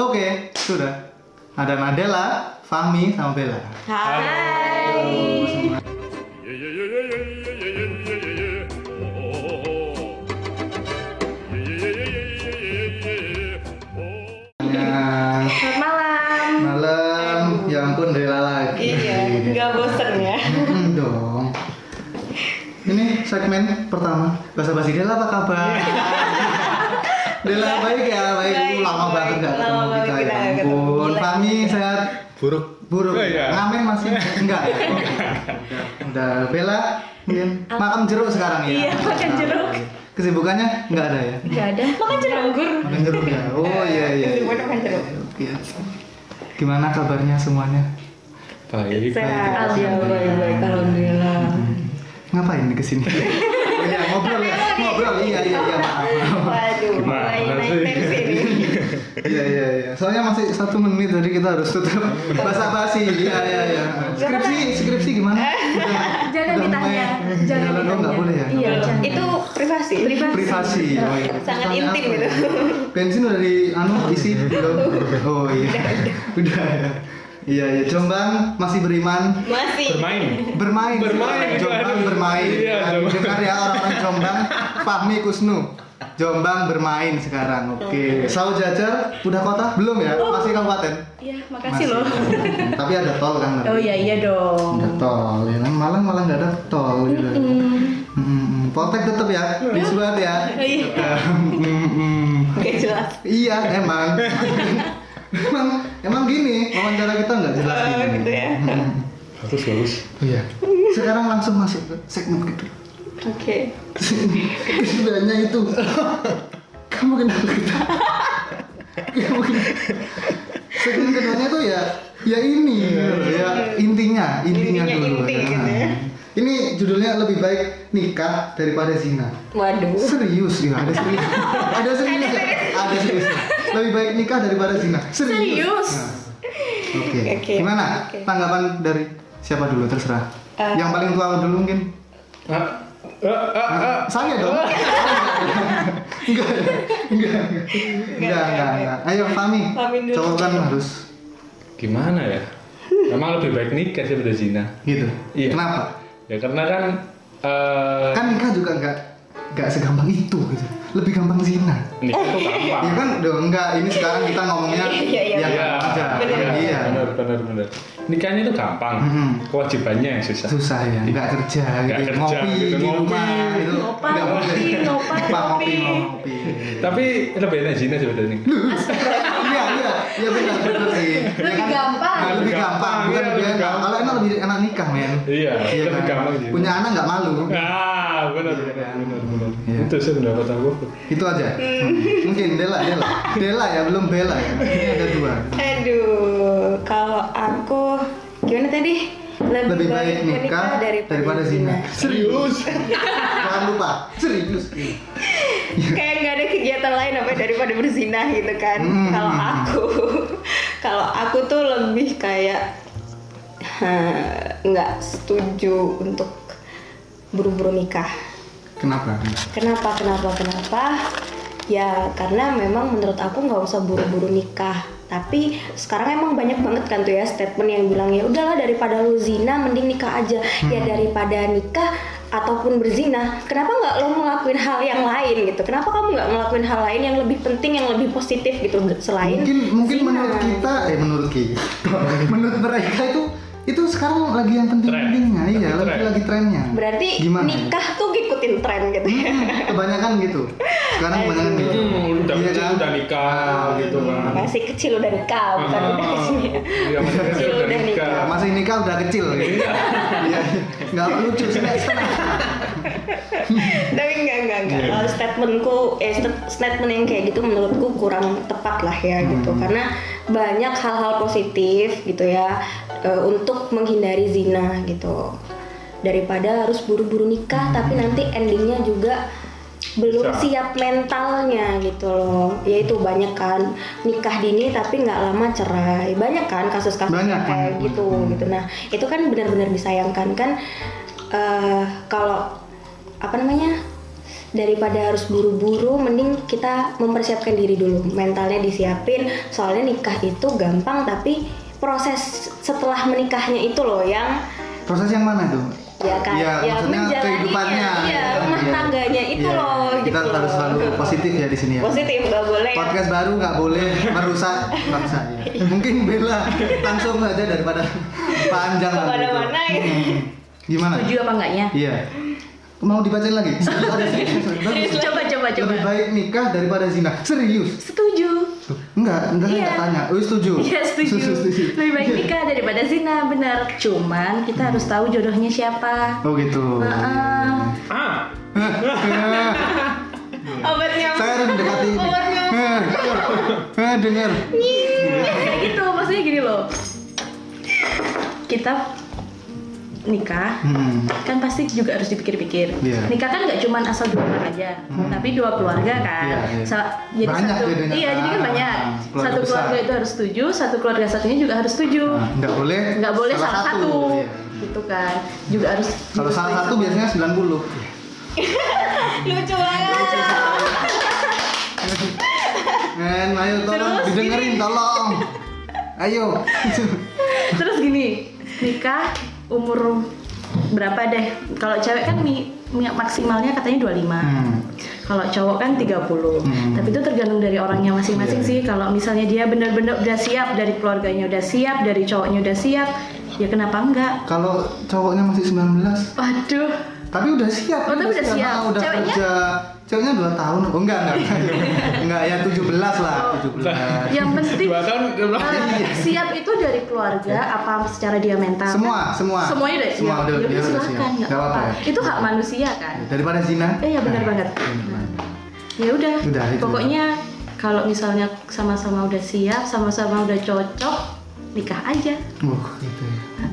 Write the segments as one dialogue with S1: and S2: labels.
S1: Oke, sudah. Ada Nadela, Fahmi, sama Bella.
S2: Hai.
S3: Yeah, yeah, yeah, yeah, yeah, yeah, yeah, yeah, yeah, yeah. Oh, oh, oh. Yeah, yeah, yeah, yeah, yeah, yeah, yeah, yeah. Oh.
S1: Ya,
S2: Selamat malam.
S1: malam. Ya ampun, Dela lagi.
S2: Iya, nggak bosen ya.
S1: Mm-mm dong. Ini segmen pertama. Bahasa basi Dela apa kabar? Dela baik ya, baik.
S2: Iya. Baik,
S1: lama
S2: baik.
S1: banget gak ketemu
S2: Lama
S1: kita
S2: banget
S1: ya
S2: kita nggak ketemu.
S1: ampun.
S2: Gila.
S1: Fahmi sehat
S4: buruk
S1: buruk.
S4: Oh, iya.
S1: Ngamen masih enggak. ya? Udah, udah. Bella mungkin makan jeruk sekarang ya.
S2: Iya, makan jeruk.
S1: Kesibukannya enggak ada ya?
S2: Gak ada. Makan jeranggur.
S1: Makan jeruk ya. Oh iya iya.
S2: Kesibukan makan jeruk.
S1: Oke. Gimana kabarnya semuanya?
S4: baik
S2: Sehat.
S1: Alhamdulillah.
S2: Baik-baik. Alhamdulillah.
S1: Ngapain ke sini? Iya, ngobrol ya. Ngobrol. Iya iya iya maaf. maaf.
S2: Waduh,
S4: Gimana
S2: mulai naik
S4: sih?
S2: tensi ini.
S1: Iya iya iya. Soalnya masih satu menit jadi kita harus tutup basa basi. Iya iya iya. Skripsi skripsi gimana? Udah,
S5: Jangan
S1: udah
S5: ditanya,
S1: mulai-
S5: jangan
S1: Jalan, oh, nggak
S5: ditanya.
S1: boleh ya. nggak
S2: Iya,
S1: boleh.
S5: jangan.
S2: itu privasi.
S1: privasi oh, iya.
S2: Sangat
S1: Tanya
S2: intim
S1: apa
S2: gitu.
S1: ya? bensin udah di anu isi belum oh iya udah ya iya ya Jombang masih beriman
S2: Masih.
S4: bermain
S1: bermain
S4: Bermain, itu
S1: Jombang
S4: aduh.
S1: bermain
S4: Iya,
S1: Nah,
S4: Jombang.
S1: dengar ya orang-orang Jombang Fahmi Kusnu Jombang bermain sekarang oke Sawo Jajar udah kota belum ya masih kabupaten
S2: Iya, Oh. makasih
S1: Masih
S2: loh.
S1: kabupaten. tapi ada tol kan nanti.
S2: Oh iya iya dong.
S1: ada tol ya kan malang malang nggak ada tol gitu Mm-mm. Poltek tetap ya, disuat ya.
S2: Iya.
S1: Tetep. Mm-mm.
S2: Oke jelas.
S1: Iya emang. emang emang gini wawancara kita nggak jelas
S2: Oh,
S1: gini.
S2: gitu ya.
S1: Mm-mm.
S4: bagus bagus
S1: Iya. Sekarang langsung masuk ke segmen kedua.
S2: Oke.
S1: Keduanya itu. Kamu kenapa kita? Kamu kenapa? Segmen keduanya tuh ya ya ini ya intinya intinya,
S2: Intinya
S1: dulu
S2: inti gitu ya.
S1: Ini judulnya lebih baik nikah daripada zina.
S2: Waduh.
S1: Serius ya, ada serius. ada serius ya? Ada serius. Lebih baik nikah daripada zina. Serius.
S2: Serius?
S1: Nah. Oke.
S2: Oke.
S1: Gimana
S2: Oke.
S1: tanggapan dari siapa dulu terserah.
S2: Eh.
S1: Yang paling tua dulu mungkin.
S4: ah, ah, ah,
S2: eh.
S4: ah.
S1: Saya dong. enggak, enggak, enggak, enggak, enggak, enggak. Ayo Fami,
S2: Fahmi dulu.
S1: cowok kan harus
S4: gimana ya emang lebih baik nikah daripada zina
S1: gitu.
S4: Iya.
S1: Kenapa?
S4: ya karena kan eh
S1: Kan nikah juga enggak enggak segampang itu gitu. Lebih gampang zina.
S4: nikah tuh gampang
S1: Ya kan, dong enggak. Ini sekarang kita ngomongnya
S2: Iya, iya,
S1: yang
S4: Iya,
S1: aja.
S4: iya,
S1: Iya.
S4: benar, benar, benar. Nikahnya itu gampang,
S1: Mhm.
S4: kewajibannya yang susah.
S1: susah ya nggak kerja
S4: Iya. Nggak
S1: gitu
S4: kerja,
S1: ngopi
S4: gitu,
S1: di
S4: ngopi.
S1: rumah gitu
S2: Ngopa,
S1: Nggak
S2: ngopi,
S1: boleh.
S2: ngopa,
S1: Ngopa, ngopi
S2: ngopi.
S1: ngopi
S4: Tapi lebih enak zina daripada nikah.
S1: iya iya iya benar benar sih Ya
S5: Lebih
S1: kan?
S5: gampang.
S1: Nah, lebih
S4: Lebih
S1: gampang
S4: gampang,
S1: bukan
S4: iya,
S1: lebih
S4: lebih
S1: enak
S4: gampang.
S1: kalau enak lebih enak nikah men
S4: Iya,
S1: Iya
S4: lebih
S1: kan?
S4: gampang zina.
S1: punya anak nggak malu
S4: Ah, benar, benar, benar, benar.
S1: Iya.
S4: Itu sih pendapat aku.
S1: itu Gitu aja Hmm. mungkin Dela Dela Dela ya belum Bella ya ini ada dua
S2: Aduh, kalau aku gimana tadi? Lebih,
S1: lebih baik nikah daripada zina serius jangan lupa serius
S2: Kayak nggak ada kegiatan lain apa daripada berzina gitu kan?
S1: Hmm.
S2: Kalau aku, kalau aku tuh lebih kayak eh, nggak setuju untuk buru-buru nikah.
S1: kenapa
S2: Kenapa? Kenapa? Kenapa? Ya karena memang menurut aku nggak usah buru-buru nikah. Tapi sekarang emang banyak banget kan tuh ya statement yang bilang ya udahlah daripada lu zina mending nikah aja. Ya
S1: Hmm.
S2: daripada nikah ataupun berzina, kenapa nggak lo ngelakuin hal yang lain gitu? Kenapa kamu nggak ngelakuin hal lain yang lebih penting, yang lebih positif gitu selain
S1: mungkin mungkin
S2: zina?
S1: menurut kita eh menurut kita menurut mereka itu itu sekarang lagi yang penting
S4: Tren.
S1: pentingnya iya
S4: Tren.
S1: lagi lagi trennya
S2: Berarti
S1: gimana
S2: nikah tuh ngikutin tren gitu ya.
S1: Hmm, kebanyakan gitu sekarang kebanyakan gitu
S4: Hmm, udah
S1: Iya
S4: kecil,
S1: kan? iya.
S4: udah nikah, gitu
S1: Hmm?
S4: kan.
S2: Masih kecil udah nikah, bukan udah kecil. ya.
S4: Iya, masih kecil udah nikah.
S1: Ya, masih nikah udah kecil gitu. Iya, nggak lucu sih nggak senang.
S2: tapi enggak enggak enggak Kalau statementku eh sta- statement yang kayak gitu menurutku kurang tepat lah ya gitu karena banyak hal-hal positif gitu ya eh, untuk menghindari zina gitu daripada harus buru-buru nikah tapi nanti endingnya juga belum
S4: Bisa.
S2: siap mentalnya gitu loh yaitu banyak kan nikah dini tapi nggak lama cerai banyak kan kasus-kasus
S1: Banyak,
S2: kayak
S1: banyak.
S2: gitu gitu nah itu kan benar-benar disayangkan kan eh, kalau apa namanya daripada harus buru-buru mending kita mempersiapkan diri dulu mentalnya disiapin soalnya nikah itu gampang tapi proses setelah menikahnya itu loh yang
S1: Proses yang mana tuh?
S2: ya kan
S1: Iya,
S2: ya,
S1: maksudnya
S2: menjalaninya,
S1: kehidupannya.
S2: iya,
S1: Iya,
S2: rumah
S1: iya.
S2: tangganya itu
S1: Iya,
S2: loh
S1: Kita
S2: gitu.
S1: harus selalu positif ya di sini ya.
S2: positif gak boleh yang-
S1: Podcast baru nggak boleh merusak bangsa ya. Mungkin Bella langsung aja daripada panjang nanti itu.
S2: Kemana-mana, ya.
S1: Hmm. Gimana?
S5: Setuju apa enggaknya?
S1: Iya. Mau dibacain lagi? Serius, ada serius, serius. Bagus.
S5: Coba coba coba.
S1: Lebih baik nikah daripada zina. Serius?
S5: Setuju.
S1: Enggak, enggak saya
S5: Iya.
S1: enggak tanya. Oh, setuju.
S5: Iya setuju.
S1: setuju.
S5: Lebih baik nikah daripada zina, benar. Cuman kita harus tahu jodohnya siapa.
S1: Oh gitu.
S5: Heeh.
S4: Ah,
S1: Eh,
S5: Obatnya.
S1: Saya harus mendekati ini.
S5: Obatnya.
S1: Eh, eh, dengar.
S5: Kayak gitu, maksudnya gini loh. Kita nikah
S1: Hmm.
S5: kan pasti juga harus dipikir-pikir.
S1: Iya.
S5: Nikah kan nggak cuma asal dua orang aja,
S1: Hmm.
S5: tapi dua keluarga kan.
S1: Iya, iya.
S5: Sa- jadi
S1: Banyak
S5: satu,
S1: jadinya
S5: iya jadi kan
S1: kan.
S5: banyak.
S1: Keluarga
S5: satu keluarga
S1: besar.
S5: itu harus setuju, satu keluarga satunya juga harus setuju.
S1: Nah, enggak boleh.
S5: Nggak boleh salah, satu,
S1: Iya.
S5: gitu kan. Juga harus.
S1: Kalau salah satu biasanya 90.
S2: lucu banget
S1: Men, ayo tolong
S5: Terus
S1: didengerin
S5: gini.
S1: tolong. Ayo.
S5: Terus gini, nikah umur berapa deh? Kalau cewek kan mi, mi- maksimalnya katanya 25.
S1: Hmm.
S5: Kalau cowok kan 30.
S1: Hmm.
S5: Tapi itu tergantung dari orangnya masing-masing
S1: Iya,
S5: sih. Kalau misalnya dia benar-benar udah siap dari keluarganya udah siap, dari cowoknya udah siap, ya kenapa enggak?
S1: Kalau cowoknya masih 19,
S5: Waduh.
S1: Tapi udah siap.
S5: Oh, tapi udah siap.
S1: Ah, udah
S5: Ceweknya?
S1: kerja. Ceweknya 2 tahun. Oh, enggak, enggak. enggak, ya 17 lah,
S5: Oh.
S1: 17.
S5: Yang penting
S4: dua tahun dia bilang,
S1: Iya.
S5: eh, siap itu dari keluarga apa secara dia mental.
S1: Semua, semua.
S5: Semuanya udah
S1: Semua udah,
S5: siap. Ya
S1: dia
S5: udah
S1: udah
S5: silakan,
S1: siap.
S5: nggak
S1: Nggak
S5: apa-apa.
S1: apa-apa Iya. ya.
S5: Itu hak manusia kan.
S1: Daripada zina.
S5: Eh, iya, benar
S1: Nah,
S5: banget.
S1: benar banget.
S5: ya udah
S1: Udah, itu.
S5: pokoknya kalau misalnya sama-sama udah siap sama-sama udah cocok nikah aja
S1: Uh, gitu ya.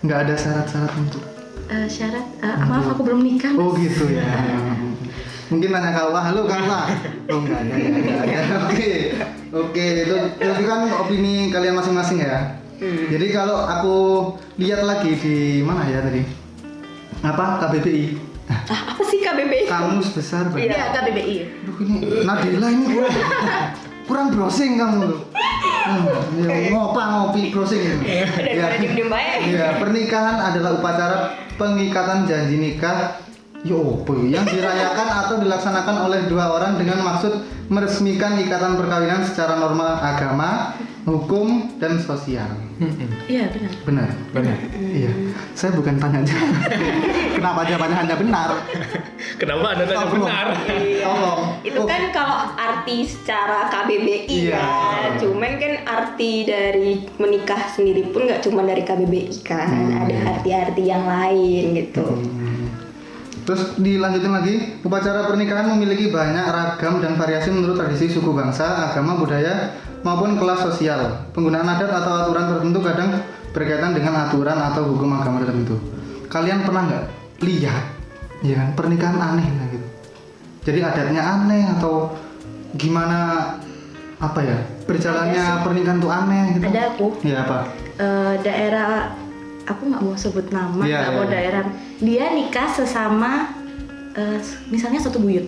S1: Enggak ada syarat-syarat untuk.
S5: Eh, syarat eh, maaf aku belum nikah
S1: Oh,
S5: Mas.
S1: gitu ya. Mungkin nanya kau, wah halo kau lah. Oh enggak ada, ya, enggak ada. Oke, oke itu, itu kan opini kalian masing-masing ya.
S2: Hmm.
S1: Jadi kalau aku lihat lagi di mana ya tadi? Apa KBBI?
S2: ah, apa sih KBB
S1: Kamus besar bahasa
S5: iya KBBI
S1: Aduh ini Nadila ini kurang kurang browsing kamu tuh. Hmm, ya, ngopa ngopi browsing itu.
S2: Daripada diem-diem bae.
S1: ya, pernikahan adalah upacara pengikatan janji nikah Yo, yang dirayakan atau dilaksanakan oleh dua orang dengan maksud meresmikan ikatan perkawinan secara norma agama, hukum, dan sosial.
S5: iya benar
S1: Benar.
S4: Benar.
S1: Iya. Saya bukan tanya jawab. Kenapa jawabannya Anda benar?
S4: Kenapa anda tanya
S1: Tolong.
S4: benar?
S1: Tolong.
S2: itu
S1: Oh,
S2: kan kalau arti secara
S1: Iya.
S2: KBBI kan cuman kan arti dari menikah sendiri pun nggak cuma dari KBBI kan
S1: Hmm.
S2: ada arti-arti yang lain gitu
S1: Hmm. Terus dilanjutin lagi, upacara pernikahan memiliki banyak ragam dan variasi menurut tradisi suku bangsa, agama, budaya, maupun kelas sosial. Penggunaan adat atau aturan tertentu kadang berkaitan dengan aturan atau hukum agama tertentu. Kalian pernah nggak lihat, ya kan, pernikahan aneh lah gitu? Jadi adatnya aneh atau gimana apa ya berjalannya pernikahan tuh aneh gitu?
S5: ada aku
S1: Ya apa?
S5: eh, daerah aku nggak mau sebut nama
S1: Iya,
S5: nggak
S1: iya,
S5: mau
S1: iya.
S5: daerah dia nikah sesama eh, misalnya satu buyut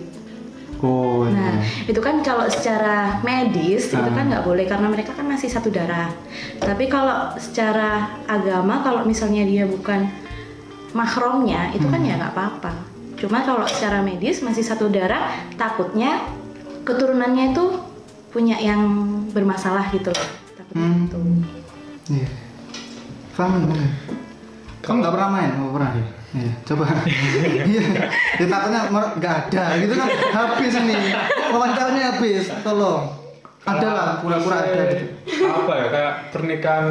S1: Oh, iya.
S5: Nah, itu kan kalau secara medis itu
S1: Ah.
S5: kan nggak boleh karena mereka kan masih satu darah. Tapi kalau secara agama kalau misalnya dia bukan mahromnya itu kan
S1: Hmm.
S5: ya nggak apa-apa. Cuma kalau secara medis masih satu darah takutnya keturunannya itu punya yang bermasalah gitu loh. Takutnya
S1: Hmm.
S5: gitu.
S1: Iya. Faham mana? Kamu nggak pernah main? Nggak pernah. Iya. Coba. Iya. ya takutnya mer- nggak ada. Gitu kan habis ini. Wawancaranya habis. Tolong. Ada lah. Pura-pura
S4: ya.
S1: ada. Gitu.
S4: Apa ya kayak pernikahan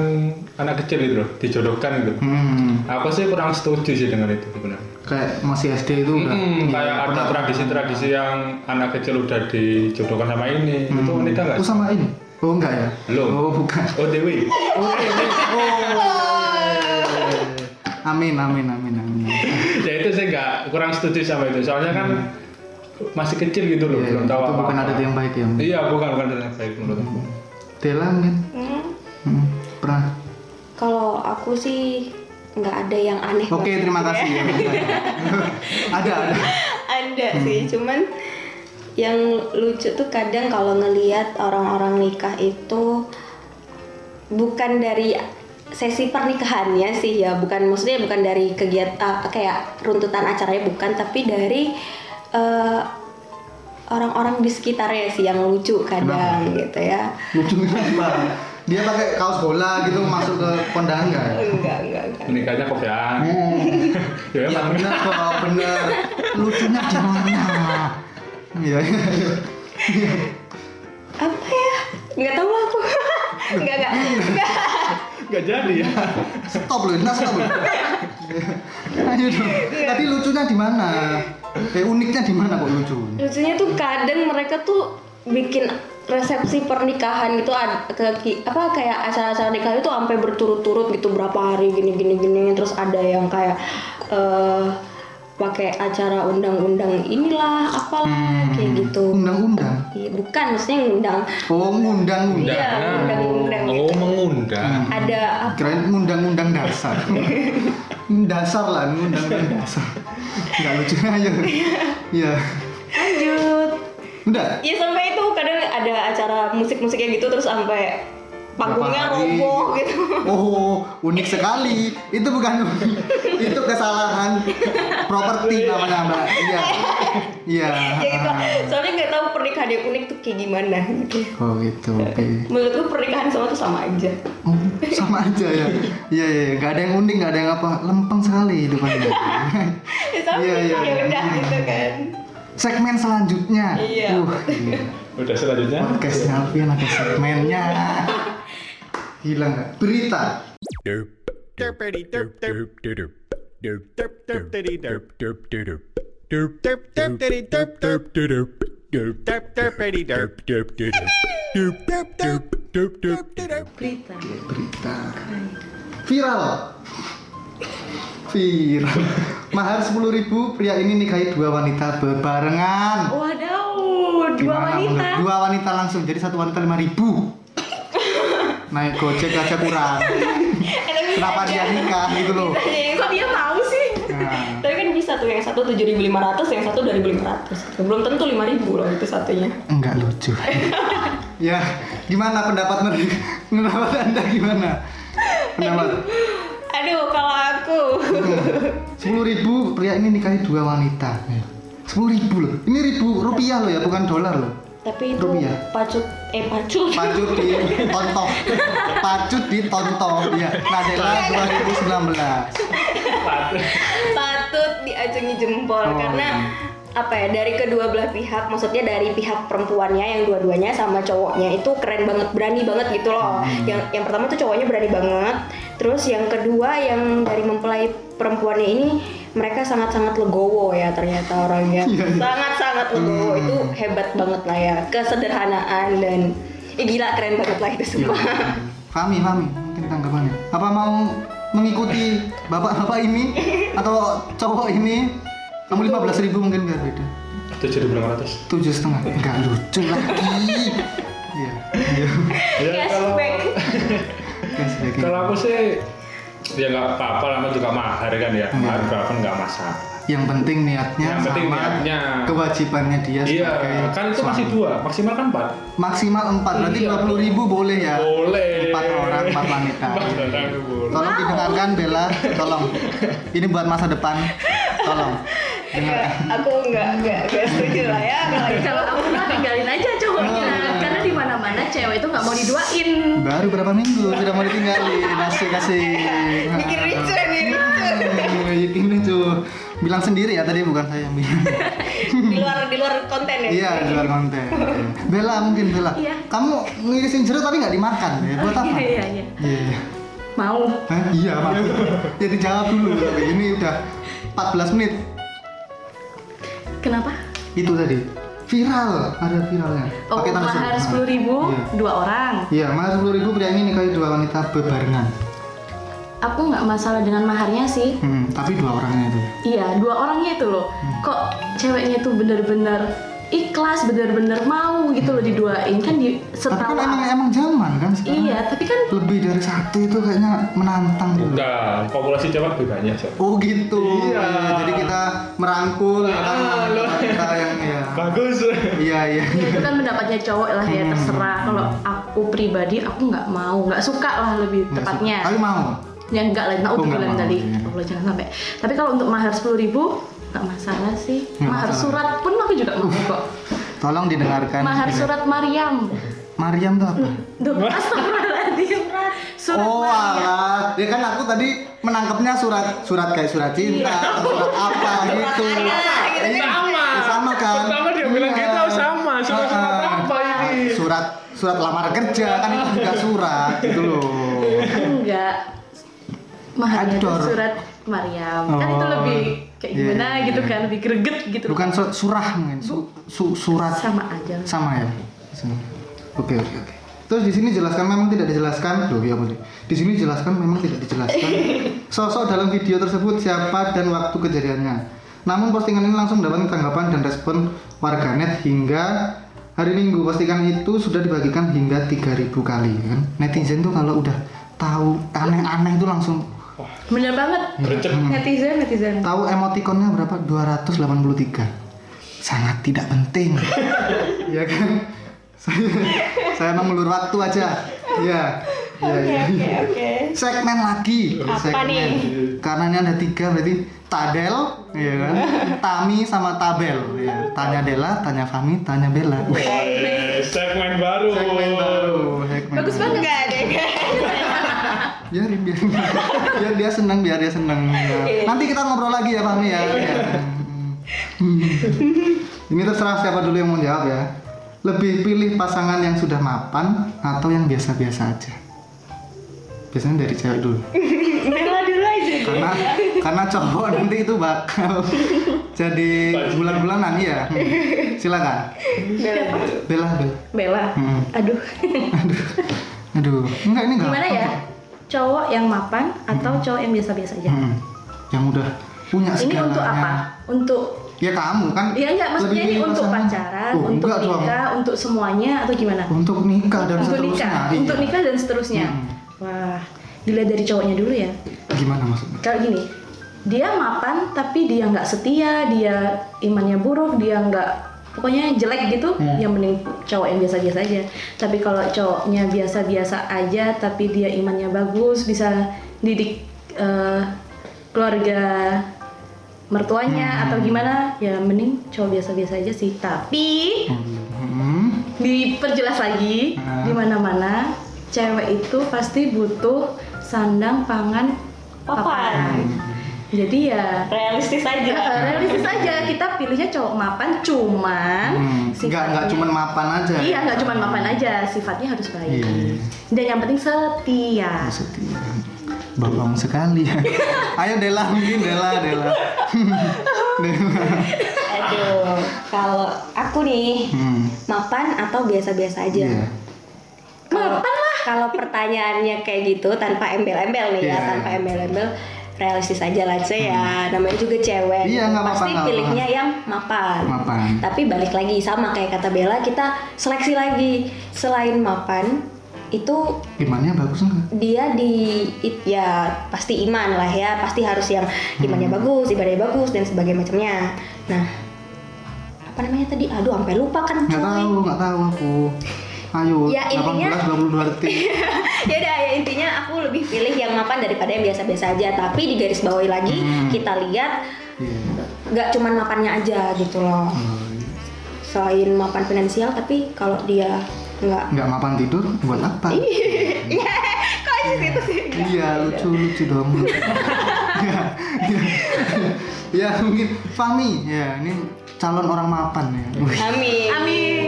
S4: anak kecil itu loh, dijodohkan gitu.
S1: Hmm.
S4: Aku sih kurang setuju sih dengan itu sebenarnya.
S1: Kayak masih SD itu udah. Iya,
S4: Mm-mm, Hmm, kayak ada
S1: pernah.
S4: tradisi-tradisi yang anak kecil udah dijodohkan sama ini, itu
S1: Hmm.
S4: gitu, menikah nggak?
S1: Oh sama ini? Oh enggak ya?
S4: Belum.
S1: Oh bukan.
S4: Oh Dewi,
S1: Oh, iya, iya. oh. Amin, amin, amin, amin.
S4: ya itu saya nggak kurang setuju sama itu, soalnya kan masih kecil gitu loh,
S1: Iya,
S4: belum tahu
S1: itu
S4: apa.
S1: bukan adat yang baik ya.
S4: Iya, bukan bukan adat yang baik menurut aku.
S1: Dela mungkin
S2: Hmm.
S1: Hmm, pernah.
S2: kalau aku sih nggak ada yang aneh
S1: Oke,
S2: banget
S1: terima
S2: gitu ya.
S1: kasih. ada, ada.
S2: ada ada sih cuman yang lucu tuh kadang kalau ngelihat orang-orang nikah itu bukan dari sesi pernikahannya sih ya bukan maksudnya bukan dari kegiatan kayak runtutan acaranya bukan tapi dari eh, orang-orang di sekitarnya sih yang lucu kadang gitu ya
S1: lucu banget dia pakai kaos bola gitu masuk ke kondangan nggak ya?
S2: enggak enggak enggak
S4: Nikahnya kopian.
S1: Hmm.
S4: Ya
S1: ya
S4: emang.
S1: benar kok benar lucunya di mana iya iya, iya.
S2: apa ya nggak tahu lah aku nggak nggak nggak
S4: Gak jadi ya.
S1: stop loh nah stop loh ayo dong tadi lucunya di mana eh uniknya di mana kok lucu
S2: lucunya tuh kadang mereka tuh bikin resepsi pernikahan gitu ad- ke- ki- apa kayak acara-acara nikah itu sampai berturut-turut gitu berapa hari gini gini gini terus ada yang kayak eh pakai acara undang-undang inilah apalah
S1: Hmm.
S2: kayak gitu
S1: undang-undang
S2: Iya, bukan maksudnya ngundang
S1: oh ngundang-undang
S2: Iya, undang-undang gitu.
S4: Oh, mengundang.
S2: ada apa
S1: kirain undang-undang dasar dasar lah undang-undang dasar nggak lucu aja iya
S2: lanjut
S1: udah
S2: ya sampai itu kadang ada acara musik-musiknya gitu terus sampai panggungnya
S1: Berapa hari?
S2: roboh gitu
S1: Oh, unik sekali. Itu bukan unik. itu kesalahan properti namanya mbak. Iya, iya.
S2: ya gitu lah. soalnya nggak tahu pernikahan yang unik tuh kayak gimana gitu
S1: Oh gitu, oke.
S2: menurutku pernikahan sama tuh sama aja
S1: Oh, sama aja ya. Iya, iya. Gak ada yang unik, gak ada yang apa. Lempeng sekali itu kan.
S2: ya
S1: Iya,
S2: sama nikah
S1: iya.
S2: ya udah gitu kan
S1: Segmen selanjutnya.
S2: Iya.
S1: Uh, iya.
S4: Udah selanjutnya.
S1: Podcastnya Alvin ada segmennya. Gila nggak? Berita.
S6: Derp. Derpity derp derp derp derp derp derpity derp derp derp derp derp derpity derp derp derp derp derp derpity derp derp derp derp derp derp derp derp derp
S5: berita
S1: berita viral viral mahar 10.000 pria ini nikahi dua wanita bebarengan
S5: wadaw dua
S1: Gimana,
S5: wanita
S1: Bunda? dua wanita langsung jadi satu wanita 5.000 naik gojek aja kurang
S2: enak
S1: kenapa dia nikah gitu loh
S5: kok dia mau sih
S1: nah,
S2: tapi kan bisa tuh yang satu 7.500 yang satu 2.500 belum tentu 5.000 loh itu satunya
S1: enggak lucu ya gimana pendapat mereka pendapat anda gimana pendapat
S2: aduh kalau aku
S1: 10.000 pria ini nikahi dua wanita
S5: Eh.
S1: 10.000 loh ini ribu rupiah loh ya bukan dolar loh
S2: tapi itu
S1: Rupiah.
S2: pacut eh pacut
S1: pacut di tontoh pacut di tontoh ya
S5: Iya,
S1: Nadela 2019
S2: patut diacungi jempol
S1: Oh.
S2: karena apa ya dari kedua belah pihak maksudnya dari pihak perempuannya yang dua-duanya sama cowoknya itu keren banget berani banget gitu loh
S1: Hmm.
S2: yang yang pertama tuh cowoknya berani banget terus yang kedua yang dari mempelai perempuannya ini mereka sangat-sangat legowo ya ternyata orangnya
S1: Iya,
S2: sangat-sangat legowo
S1: Hmm.
S2: itu hebat banget lah ya kesederhanaan dan eh, gila keren banget lah itu
S1: Iya.
S2: semua
S1: Fahmi Fahmi mungkin tanggapannya apa mau mengikuti bapak-bapak ini atau cowok ini kamu 15.000 mungkin biar beda
S4: Tujuh ribu enam ratus.
S1: tujuh setengah nggak lucu lagi iya iya
S2: cashback
S1: guys kayak gitu.
S4: Ya, Kalau aku sih ya nggak apa-apa lama juga mahar kan ya
S1: Hmm.
S4: mahar berapa nggak masalah
S1: yang penting niatnya
S4: Yang penting
S1: sama
S4: niatnya.
S1: kewajibannya dia
S4: iya
S1: sebagai
S4: kan itu masih
S1: suami.
S4: dua maksimal kan empat
S1: maksimal empat berarti
S4: Iya.
S1: dua ribu boleh ya
S4: boleh
S1: empat orang empat wanita
S4: Empat orang, boleh.
S1: tolong didengarkan Bella tolong ini buat masa depan tolong
S2: Nggak, aku nggak nggak nggak setuju lah ya kalau itu
S5: kalau aku mah tinggalin aja cowoknya
S1: Hmm.
S5: karena di mana mana cewek itu nggak mau diduain
S1: baru berapa minggu sudah mau ditinggalin kasih kasih Nah,
S2: bikin ricu nih ricu
S1: bikin lucu bilang sendiri ya tadi bukan saya yang bilang
S2: di luar di luar konten ya
S1: iya di luar konten Bella mungkin Bella
S5: Iya.
S1: kamu ngirisin jeruk tapi nggak dimakan ya buat apa
S5: Iya, iya, iya.
S1: Iya.
S5: mau
S1: Hah? Iya, Pak. ya dijawab dulu. Tapi ini udah 14 menit.
S5: kenapa
S1: Itu tadi. Viral, ada viralnya.
S5: oh
S1: Pakai tanda
S5: mahar
S1: surut.
S5: sepuluh ribu
S1: Iya.
S5: dua orang
S1: Iya, mahar 10 ribu pria ini nikahi dua wanita bebarengan.
S5: aku nggak masalah dengan maharnya sih
S1: Hmm, tapi dua orangnya itu. Hmm.
S5: Iya, dua orangnya itu loh. Kok ceweknya tuh bener-bener ikhlas bener-bener mau gitu loh diduain kan di
S1: Hmm. Tapi kan emang
S5: setelah
S1: emang zaman kan sekarang.
S5: iya tapi kan
S1: Lebih dari satu itu kayaknya menantang. gitu.
S4: Enggak, populasi cewek lebih banyak so.
S1: Oh gitu.
S4: Iya.
S1: Iya, Jadi kita merangkul
S4: Ah,
S1: orang gitu,
S4: lo.
S1: kita yang ya.
S4: Bagus.
S1: Iya iya.
S5: ya itu kan pendapatnya cowok lah
S1: Hmm.
S5: ya terserah kalau aku pribadi aku nggak mau nggak suka lah lebih
S1: Nggak
S5: tepatnya
S1: suka. Tapi mau.
S5: ya enggak lah nah
S1: Oh,
S5: udah
S1: nggak
S5: bilang
S1: mau,
S5: tadi
S1: iya.
S5: Allah jangan sampai tapi kalau untuk mahar sepuluh ribu nggak masalah sih
S1: Nggak
S5: mahar
S1: masalah.
S5: surat pun aku juga mau kok
S1: Tolong didengarkan.
S5: mahar
S1: Iya.
S5: surat Maryam
S1: Mariam tuh apa?
S5: Duh, astagfirullahaladzim surat
S1: oh
S5: Maryam
S1: alah, ya kan aku tadi menangkapnya surat surat kayak surat cinta, atau Iya. surat apa gitu. Iya,
S4: Sama.
S1: sama kan.
S4: Pertama dia bilang
S1: Iya.
S4: gitu sama. Surat-surat
S1: Ah, ah.
S4: apa ini?
S1: Surat surat lamar kerja kan itu juga surat gitu loh.
S5: enggak maharnya itu
S1: Ador.
S5: surat Maryam kan itu
S1: Oh.
S5: lebih kayak
S1: Iya,
S5: gimana
S1: iya,
S5: gitu
S1: iya.
S5: kan lebih greget gitu
S1: Bukan surat surah mungkin, su- su- surat
S5: sama aja
S1: sama ya. Sama. Oke oke oke. Terus di sini jelaskan memang tidak dijelaskan. Loh, ya boleh. Di sini jelaskan memang tidak dijelaskan. Sosok dalam video tersebut siapa dan waktu kejadiannya. Namun postingan ini langsung mendapat tanggapan dan respon warganet hingga hari Minggu. Postingan itu sudah dibagikan hingga 3000 kali kan. Netizen tuh kalau udah tahu aneh-aneh itu langsung
S5: bener banget
S4: Gercep.
S1: Hmm.
S5: netizen netizen
S1: tahu emotikonnya berapa? 283. Sangat tidak penting. ya kan? Saya, saya mengulur waktu aja. Iya. Iya,
S2: Oke
S1: iya.
S2: oke oke.
S1: Segmen lagi.
S2: Apa
S1: segmen.
S2: nih?
S1: Karena ini ada tiga berarti Tadel, ya kan? Tami sama Tabel. Ya. Tanya Dela, tanya Fami, tanya Bella.
S4: Eh, Segmen baru.
S1: Segmen baru. Segmen
S5: bagus
S1: baru.
S5: banget
S2: Enggak deh.
S1: biarin biarin biar dia senang biar dia senang Ya. nanti kita ngobrol lagi ya Fahmi ya Ya. Hmm. ini terserah siapa dulu yang mau jawab ya lebih pilih pasangan yang sudah mapan atau yang biasa-biasa aja biasanya dari cewek dulu
S2: Bella dulu aja.
S1: karena karena cowok nanti itu bakal jadi bulan-bulanan ya Hmm. silakan
S2: Bella dulu.
S1: Bella Bella
S5: Bella
S1: Hmm.
S5: aduh
S1: aduh enggak ini enggak
S5: gimana ya cowok yang mapan atau cowok yang biasa-biasa aja
S1: Hmm. yang udah punya
S5: ini
S1: Hmm. segalanya
S5: untuk apa untuk
S1: Ya kamu kan.
S5: ya enggak maksudnya
S1: lebih
S5: ini
S1: pilih
S5: untuk
S1: pasangan.
S5: pacaran
S1: Oh,
S5: untuk
S1: enggak dong.
S5: nikah untuk semuanya atau gimana
S1: Untuk nikah dan
S5: untuk
S1: seterusnya.
S5: nikah
S1: iya.
S5: untuk nikah dan seterusnya
S1: Hmm.
S5: wah dilihat dari cowoknya dulu ya
S1: Gimana maksudnya?
S5: kalau gini dia mapan tapi dia nggak setia dia imannya buruk dia nggak pokoknya jelek gitu
S1: Hmm.
S5: yang mending cowok yang biasa-biasa aja tapi kalau cowoknya biasa-biasa aja tapi dia imannya bagus bisa didik eh, keluarga mertuanya atau gimana ya mending cowok biasa-biasa aja sih tapi
S1: Hmm.
S5: diperjelas lagi
S1: Hmm.
S5: di mana-mana cewek itu pasti butuh sandang pangan
S2: Papan.
S5: papan. Jadi ya
S2: Realistis
S5: eh,
S2: aja.
S5: realistis aja kita pilihnya cowok mapan cuman
S1: Hmm. Enggak
S5: sifatnya-
S1: enggak cuman mapan aja.
S5: Iya, nggak cuman mapan aja, sifatnya harus baik.
S1: Iya.
S5: Dan yang penting setia.
S1: Setia. Bohong sekali ya. Ayo Dela mungkin Dela Dela. Dela.
S2: Aduh. Kalau aku nih
S1: Hmm.
S2: mapan atau biasa-biasa aja.
S1: Iya.
S2: Kalau- Kalau pertanyaannya kayak gitu tanpa embel-embel
S1: Iya. Hmm.
S2: nih ya, tanpa embel-embel realistis aja lah Ce, ya namanya juga
S1: Iya,
S2: cewek gitu.
S1: nggak apa-apa,
S2: pasti
S1: nggak
S2: pilihnya yang mapan.
S1: Mapan.
S2: tapi balik lagi sama kayak kata Bella kita seleksi lagi selain mapan itu
S1: Imannya bagus enggak?
S2: dia di it- ya pasti iman lah ya pasti harus yang imannya
S1: Hmm.
S2: bagus ibadahnya bagus dan sebagainya macamnya nah apa namanya tadi aduh sampai lupa kan
S1: Enggak
S2: cuy
S1: tahu, enggak tahu aku. Ayo,
S2: Ya, intinya-
S1: 18 22 detik.
S2: ya udah ya intinya aku lebih pilih yang mapan daripada yang biasa-biasa aja tapi di garis bawahi lagi
S1: Hmm.
S2: kita lihat
S1: Iya.
S2: nggak cuman mapannya aja gitu
S1: Oh,
S2: loh
S1: iya.
S2: selain mapan finansial tapi kalau dia nggak
S1: Enggak mapan tidur buat apa?
S2: Iya, kok aja sih itu sih?
S1: Iya lucu lucu dong. Iya, ya mungkin Fami ya ini calon orang mapan ya. Wih,
S2: Amin.
S5: Amin.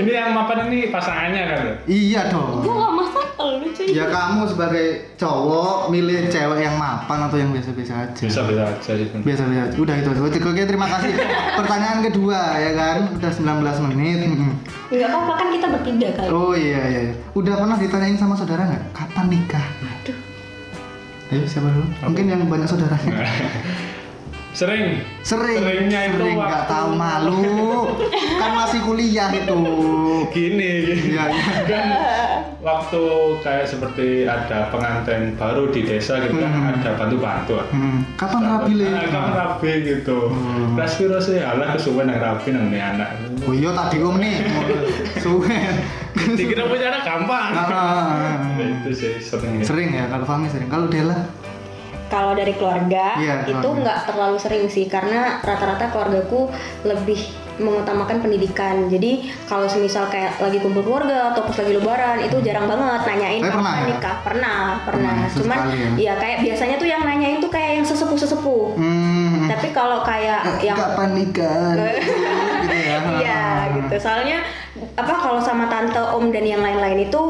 S4: Ini yang mapan ini pasangannya kan ya?
S1: iya dong.
S2: Wah, masa kalau lucu
S1: Ya kamu sebagai cowok milih cewek yang mapan atau yang biasa-biasa aja.
S4: Bisa bisa gitu. aja sih.
S1: Biasa-biasa. aja. Udah itu aja. Oke, oke, terima kasih. Pertanyaan kedua ya kan. Udah 19 menit. Mm-mm.
S2: Enggak apa-apa kan kita bertiga kali.
S1: Oh iya iya. iya. Udah pernah ditanyain sama saudara nggak? Kapan Eh, nikah? Aduh. Ayo siapa dulu? Mungkin yang banyak saudaranya.
S4: Sering.
S1: Sering,
S4: Seringnya itu
S1: sering nggak
S4: waktu-
S1: tahu malu. kan masih kuliah itu.
S4: Gini, gini.
S1: Iya, iya.
S4: kan waktu kayak seperti ada pengantin baru di desa gitu kan
S1: Hmm.
S4: ada bantu-bantu
S1: Hmm, kapan rapi le?
S4: Ah, kapan rabi gitu
S1: Hmm.
S4: Terus kira sih alah kesuwen yang rabi nang nih anak
S1: Oh iya tadi om nih. Suwen.
S4: dikira punya anak gampang
S1: Ah, ah, ah.
S4: Ya, itu sih sering ya.
S1: Sering ya kalau Fahmi sering. Kalau Dela
S2: Kalau dari keluarga
S1: Iya,
S2: itu
S1: keluarga.
S2: nggak terlalu sering sih karena rata-rata keluargaku lebih mengutamakan pendidikan. Jadi kalau semisal kayak lagi kumpul keluarga atau pas lagi lebaran itu jarang banget nanyain
S1: Hmm. Tapi pernah
S2: kapan
S1: ya?
S2: nikah. Pernah, pernah.
S1: Pernah,
S2: Cuman
S1: sesekali
S2: ya kayak biasanya tuh yang nanyain tuh kayak yang sesepuh-sesepuh.
S1: Hmm. Eh,
S2: Tapi kalau kayak yang
S1: kapan nikah? gitu ya.
S2: Iya gitu. Soalnya apa kalau sama tante, om dan yang lain-lain itu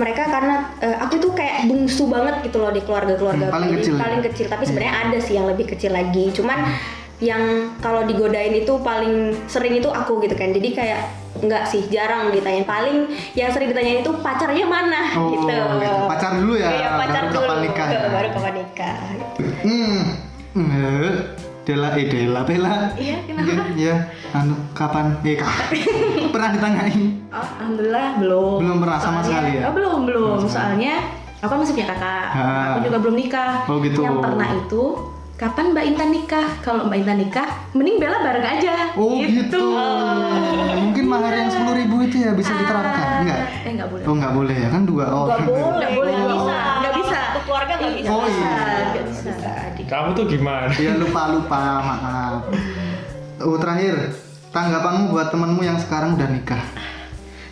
S2: mereka karena eh, aku tuh kayak bungsu banget gitu loh di keluarga-keluarga
S1: Hmm, paling
S2: aku. Jadi
S1: kecil ya? Hmm.
S2: paling kecil tapi sebenarnya ada sih yang lebih kecil lagi. Cuman yang kalau digodain itu paling sering itu aku gitu kan. Jadi kayak enggak sih jarang ditanyain. Paling yang sering ditanyain itu pacarnya mana
S1: Oh,
S2: gitu.
S1: gitu. Pacar dulu ya,
S2: Iya, pacar
S1: baru
S2: dulu.
S1: kapan nikah ya.
S2: Baru kapan nikah.
S1: Hmm. Eh, Dela, eh Dela, Bella.
S5: Iya, kenapa?
S1: Iya, iya. Anu, kapan? Eh, kapan? Pernah ditanyain?
S5: Oh, alhamdulillah belum.
S1: Belum pernah sama
S5: Soalnya-
S1: sekali ya?
S5: Oh, belum belum. Soalnya aku masih punya kakak.
S1: Ah.
S5: Aku juga belum nikah.
S1: Oh, gitu.
S5: Yang pernah itu kapan Mbak Intan nikah? Kalau Mbak Intan nikah, mending Bella bareng aja.
S1: Oh, gitu. Mungkin mahar yang 10.000 ribu itu ya bisa diterapkan?
S5: Ah.
S1: Enggak?
S5: Eh nggak boleh.
S1: Oh, enggak boleh ya? Kan dua orang.
S2: Nggak boleh,
S5: Nggak boleh,
S2: nggak
S5: nggak
S2: bisa.
S5: boleh. Nggak bisa.
S2: Satu keluarga nggak bisa.
S1: Oh, iya.
S5: Nggak bisa.
S4: kamu tuh gimana
S1: Iya, lupa-lupa, maaf. Oh, terakhir. Tanggapanmu buat temanmu yang sekarang udah nikah?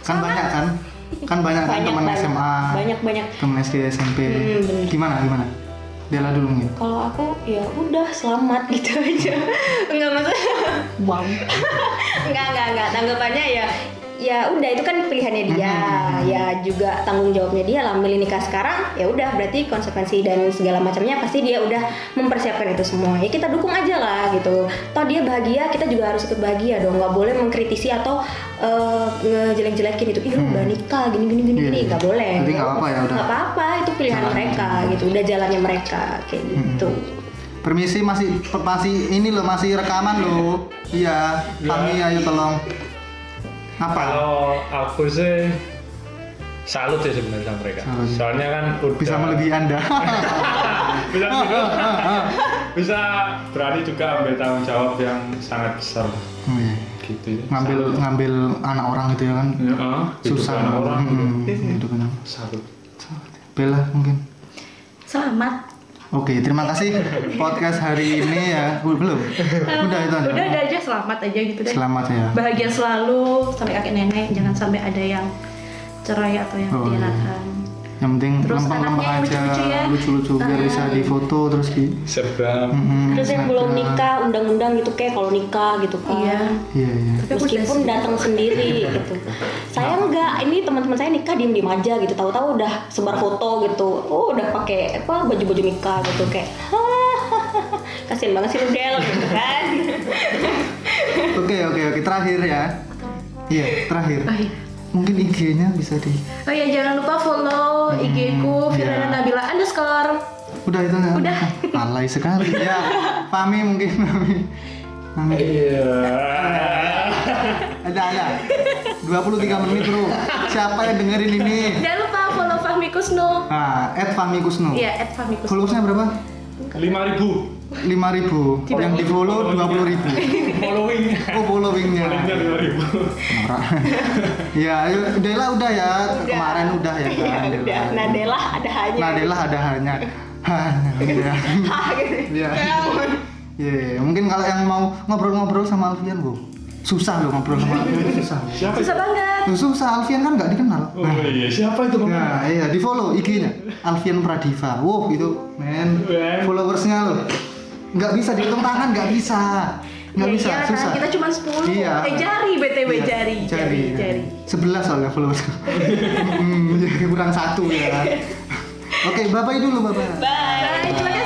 S1: Kan banyak kan? Kan banyak kan
S2: Banyak,
S1: teman
S2: banyak.
S1: SMA.
S2: Banyak-banyak.
S1: Temen SD, SMP. Gimana, gimana? Dela dulu mungkin.
S2: kalau aku ya udah selamat gitu aja nggak maksudnya nggak nggak nggak tanggapannya ya ya udah itu kan pilihannya dia
S1: Mm-hmm.
S2: ya juga tanggung jawabnya dia lah milih nikah sekarang ya udah berarti konsekuensi dan segala macamnya pasti dia udah mempersiapkan itu semua ya kita dukung aja lah gitu toh dia bahagia kita juga harus ikut bahagia dong nggak boleh mengkritisi atau eh, ngejelek-jelekin itu ih lu udah nikah gini gini gini
S1: Mm-hmm. Iya,
S2: gini
S1: iya.
S2: nggak boleh
S1: Berarti nggak apa-apa ya, udah.
S2: nggak apa-apa itu pilihan
S1: Jalannya.
S2: mereka gitu udah jalannya mereka kayak gitu
S1: Mm-hmm. Permisi masih masih ini loh masih rekaman loh. Iya, kami ayo tolong. Apa?
S4: kalau aku sih salut ya sebenarnya sama mereka
S1: Salut.
S4: soalnya kan udah
S1: Bisa melebihi Anda. Oh
S4: bisa, gitu. bisa berani juga ambil tanggung jawab yang sangat besar
S1: Oh, iya.
S4: gitu
S1: ngambil
S4: Salut.
S1: ngambil anak orang gitu ya kan
S4: Ya, ah, hidup
S1: susah
S4: anak orang Iya.
S1: Hmm, gitu kan.
S4: salut
S1: Bella mungkin.
S5: Selamat.
S1: Oke, terima kasih podcast hari ini ya. Bu- Belum. Udah itu aja.
S5: Udah, udah aja selamat aja gitu deh.
S1: Selamat ya.
S5: Bahagia selalu sampai kakek nenek. Jangan sampai ada yang cerai atau yang
S1: Oh, iya.
S5: dilarang.
S1: Yang penting
S5: Terus
S1: lempeng-lempeng
S5: anaknya
S1: aja,
S5: lucu-lucu ya.
S1: lucu-lucu biar bisa difoto terus di. Hmm,
S4: sebab
S1: Mm-mm,
S2: Terus yang belum
S1: Snapchat.
S2: nikah, undang-undang gitu kayak kalau nikah gitu kan.
S5: Iya.
S1: Iya iya.
S5: Tapi aku udah
S2: Meskipun
S5: sedih.
S2: datang sendiri gitu. Saya enggak, ini teman-teman saya nikah diem-diem aja gitu. Tahu-tahu udah sebar foto gitu. Oh, udah pakai apa baju-baju nikah gitu kayak. "Hahaha, Kasian banget sih lu Del gitu kan.
S1: Oke oke oke terakhir ya. Iya terakhir.
S5: Oh, iya.
S1: Mungkin IG-nya bisa di.
S5: Oh ya jangan lupa follow IG ku
S1: iya.
S5: Firana Nabila underscore.
S1: Udah itu nggak?
S5: Udah.
S1: Alay sekali ya. Pami mungkin Pami. Pami.
S4: iya
S1: Ada ada. 23 menit bro. Siapa yang dengerin ini?
S5: Jangan lupa follow Fahmi Kusno.
S1: Nah, at Fami Kusno.
S5: Iya, at Fahmi Kusno.
S1: Followersnya berapa?
S4: lima ribu
S1: 5000 Yang di follow 20 ribu.
S4: following
S1: Oh followingnya.
S4: followingnya lima ribu
S1: Norak. ya, ayo, Dela udah ya. Kemarin udah ya kan.
S2: Ya udah, Nadela ada hanya.
S1: Nadela ada hanya. Hanya. udah.
S2: Ah, gitu.
S1: Iya. Iya, iya. mungkin kalau yang mau ngobrol-ngobrol sama Alfian, Bu. Susah loh ngobrol sama Alfian, susah.
S4: siapa itu?
S5: Susah banget.
S1: Loh, susah Alfian kan nggak dikenal.
S4: oh iya siapa itu kemarin
S1: Nah, iya, di follow IG-nya Alfian Pradiva. Wow, itu men
S4: Men.
S1: followersnya loh. Nggak bisa dihitung tangan, nggak bisa. Nggak
S5: Ya
S1: bisa,
S5: iyalah,
S1: susah.
S5: Kita cuma 10.
S1: Iya.
S5: Eh jari BTW
S1: Iya,
S5: jari. Jari,
S1: iya.
S5: jari.
S1: 11 soalnya followers. hmm, jadi kurang satu ya. Oke, bye-bye dulu, Bapak.
S5: Bye. Terima kasih.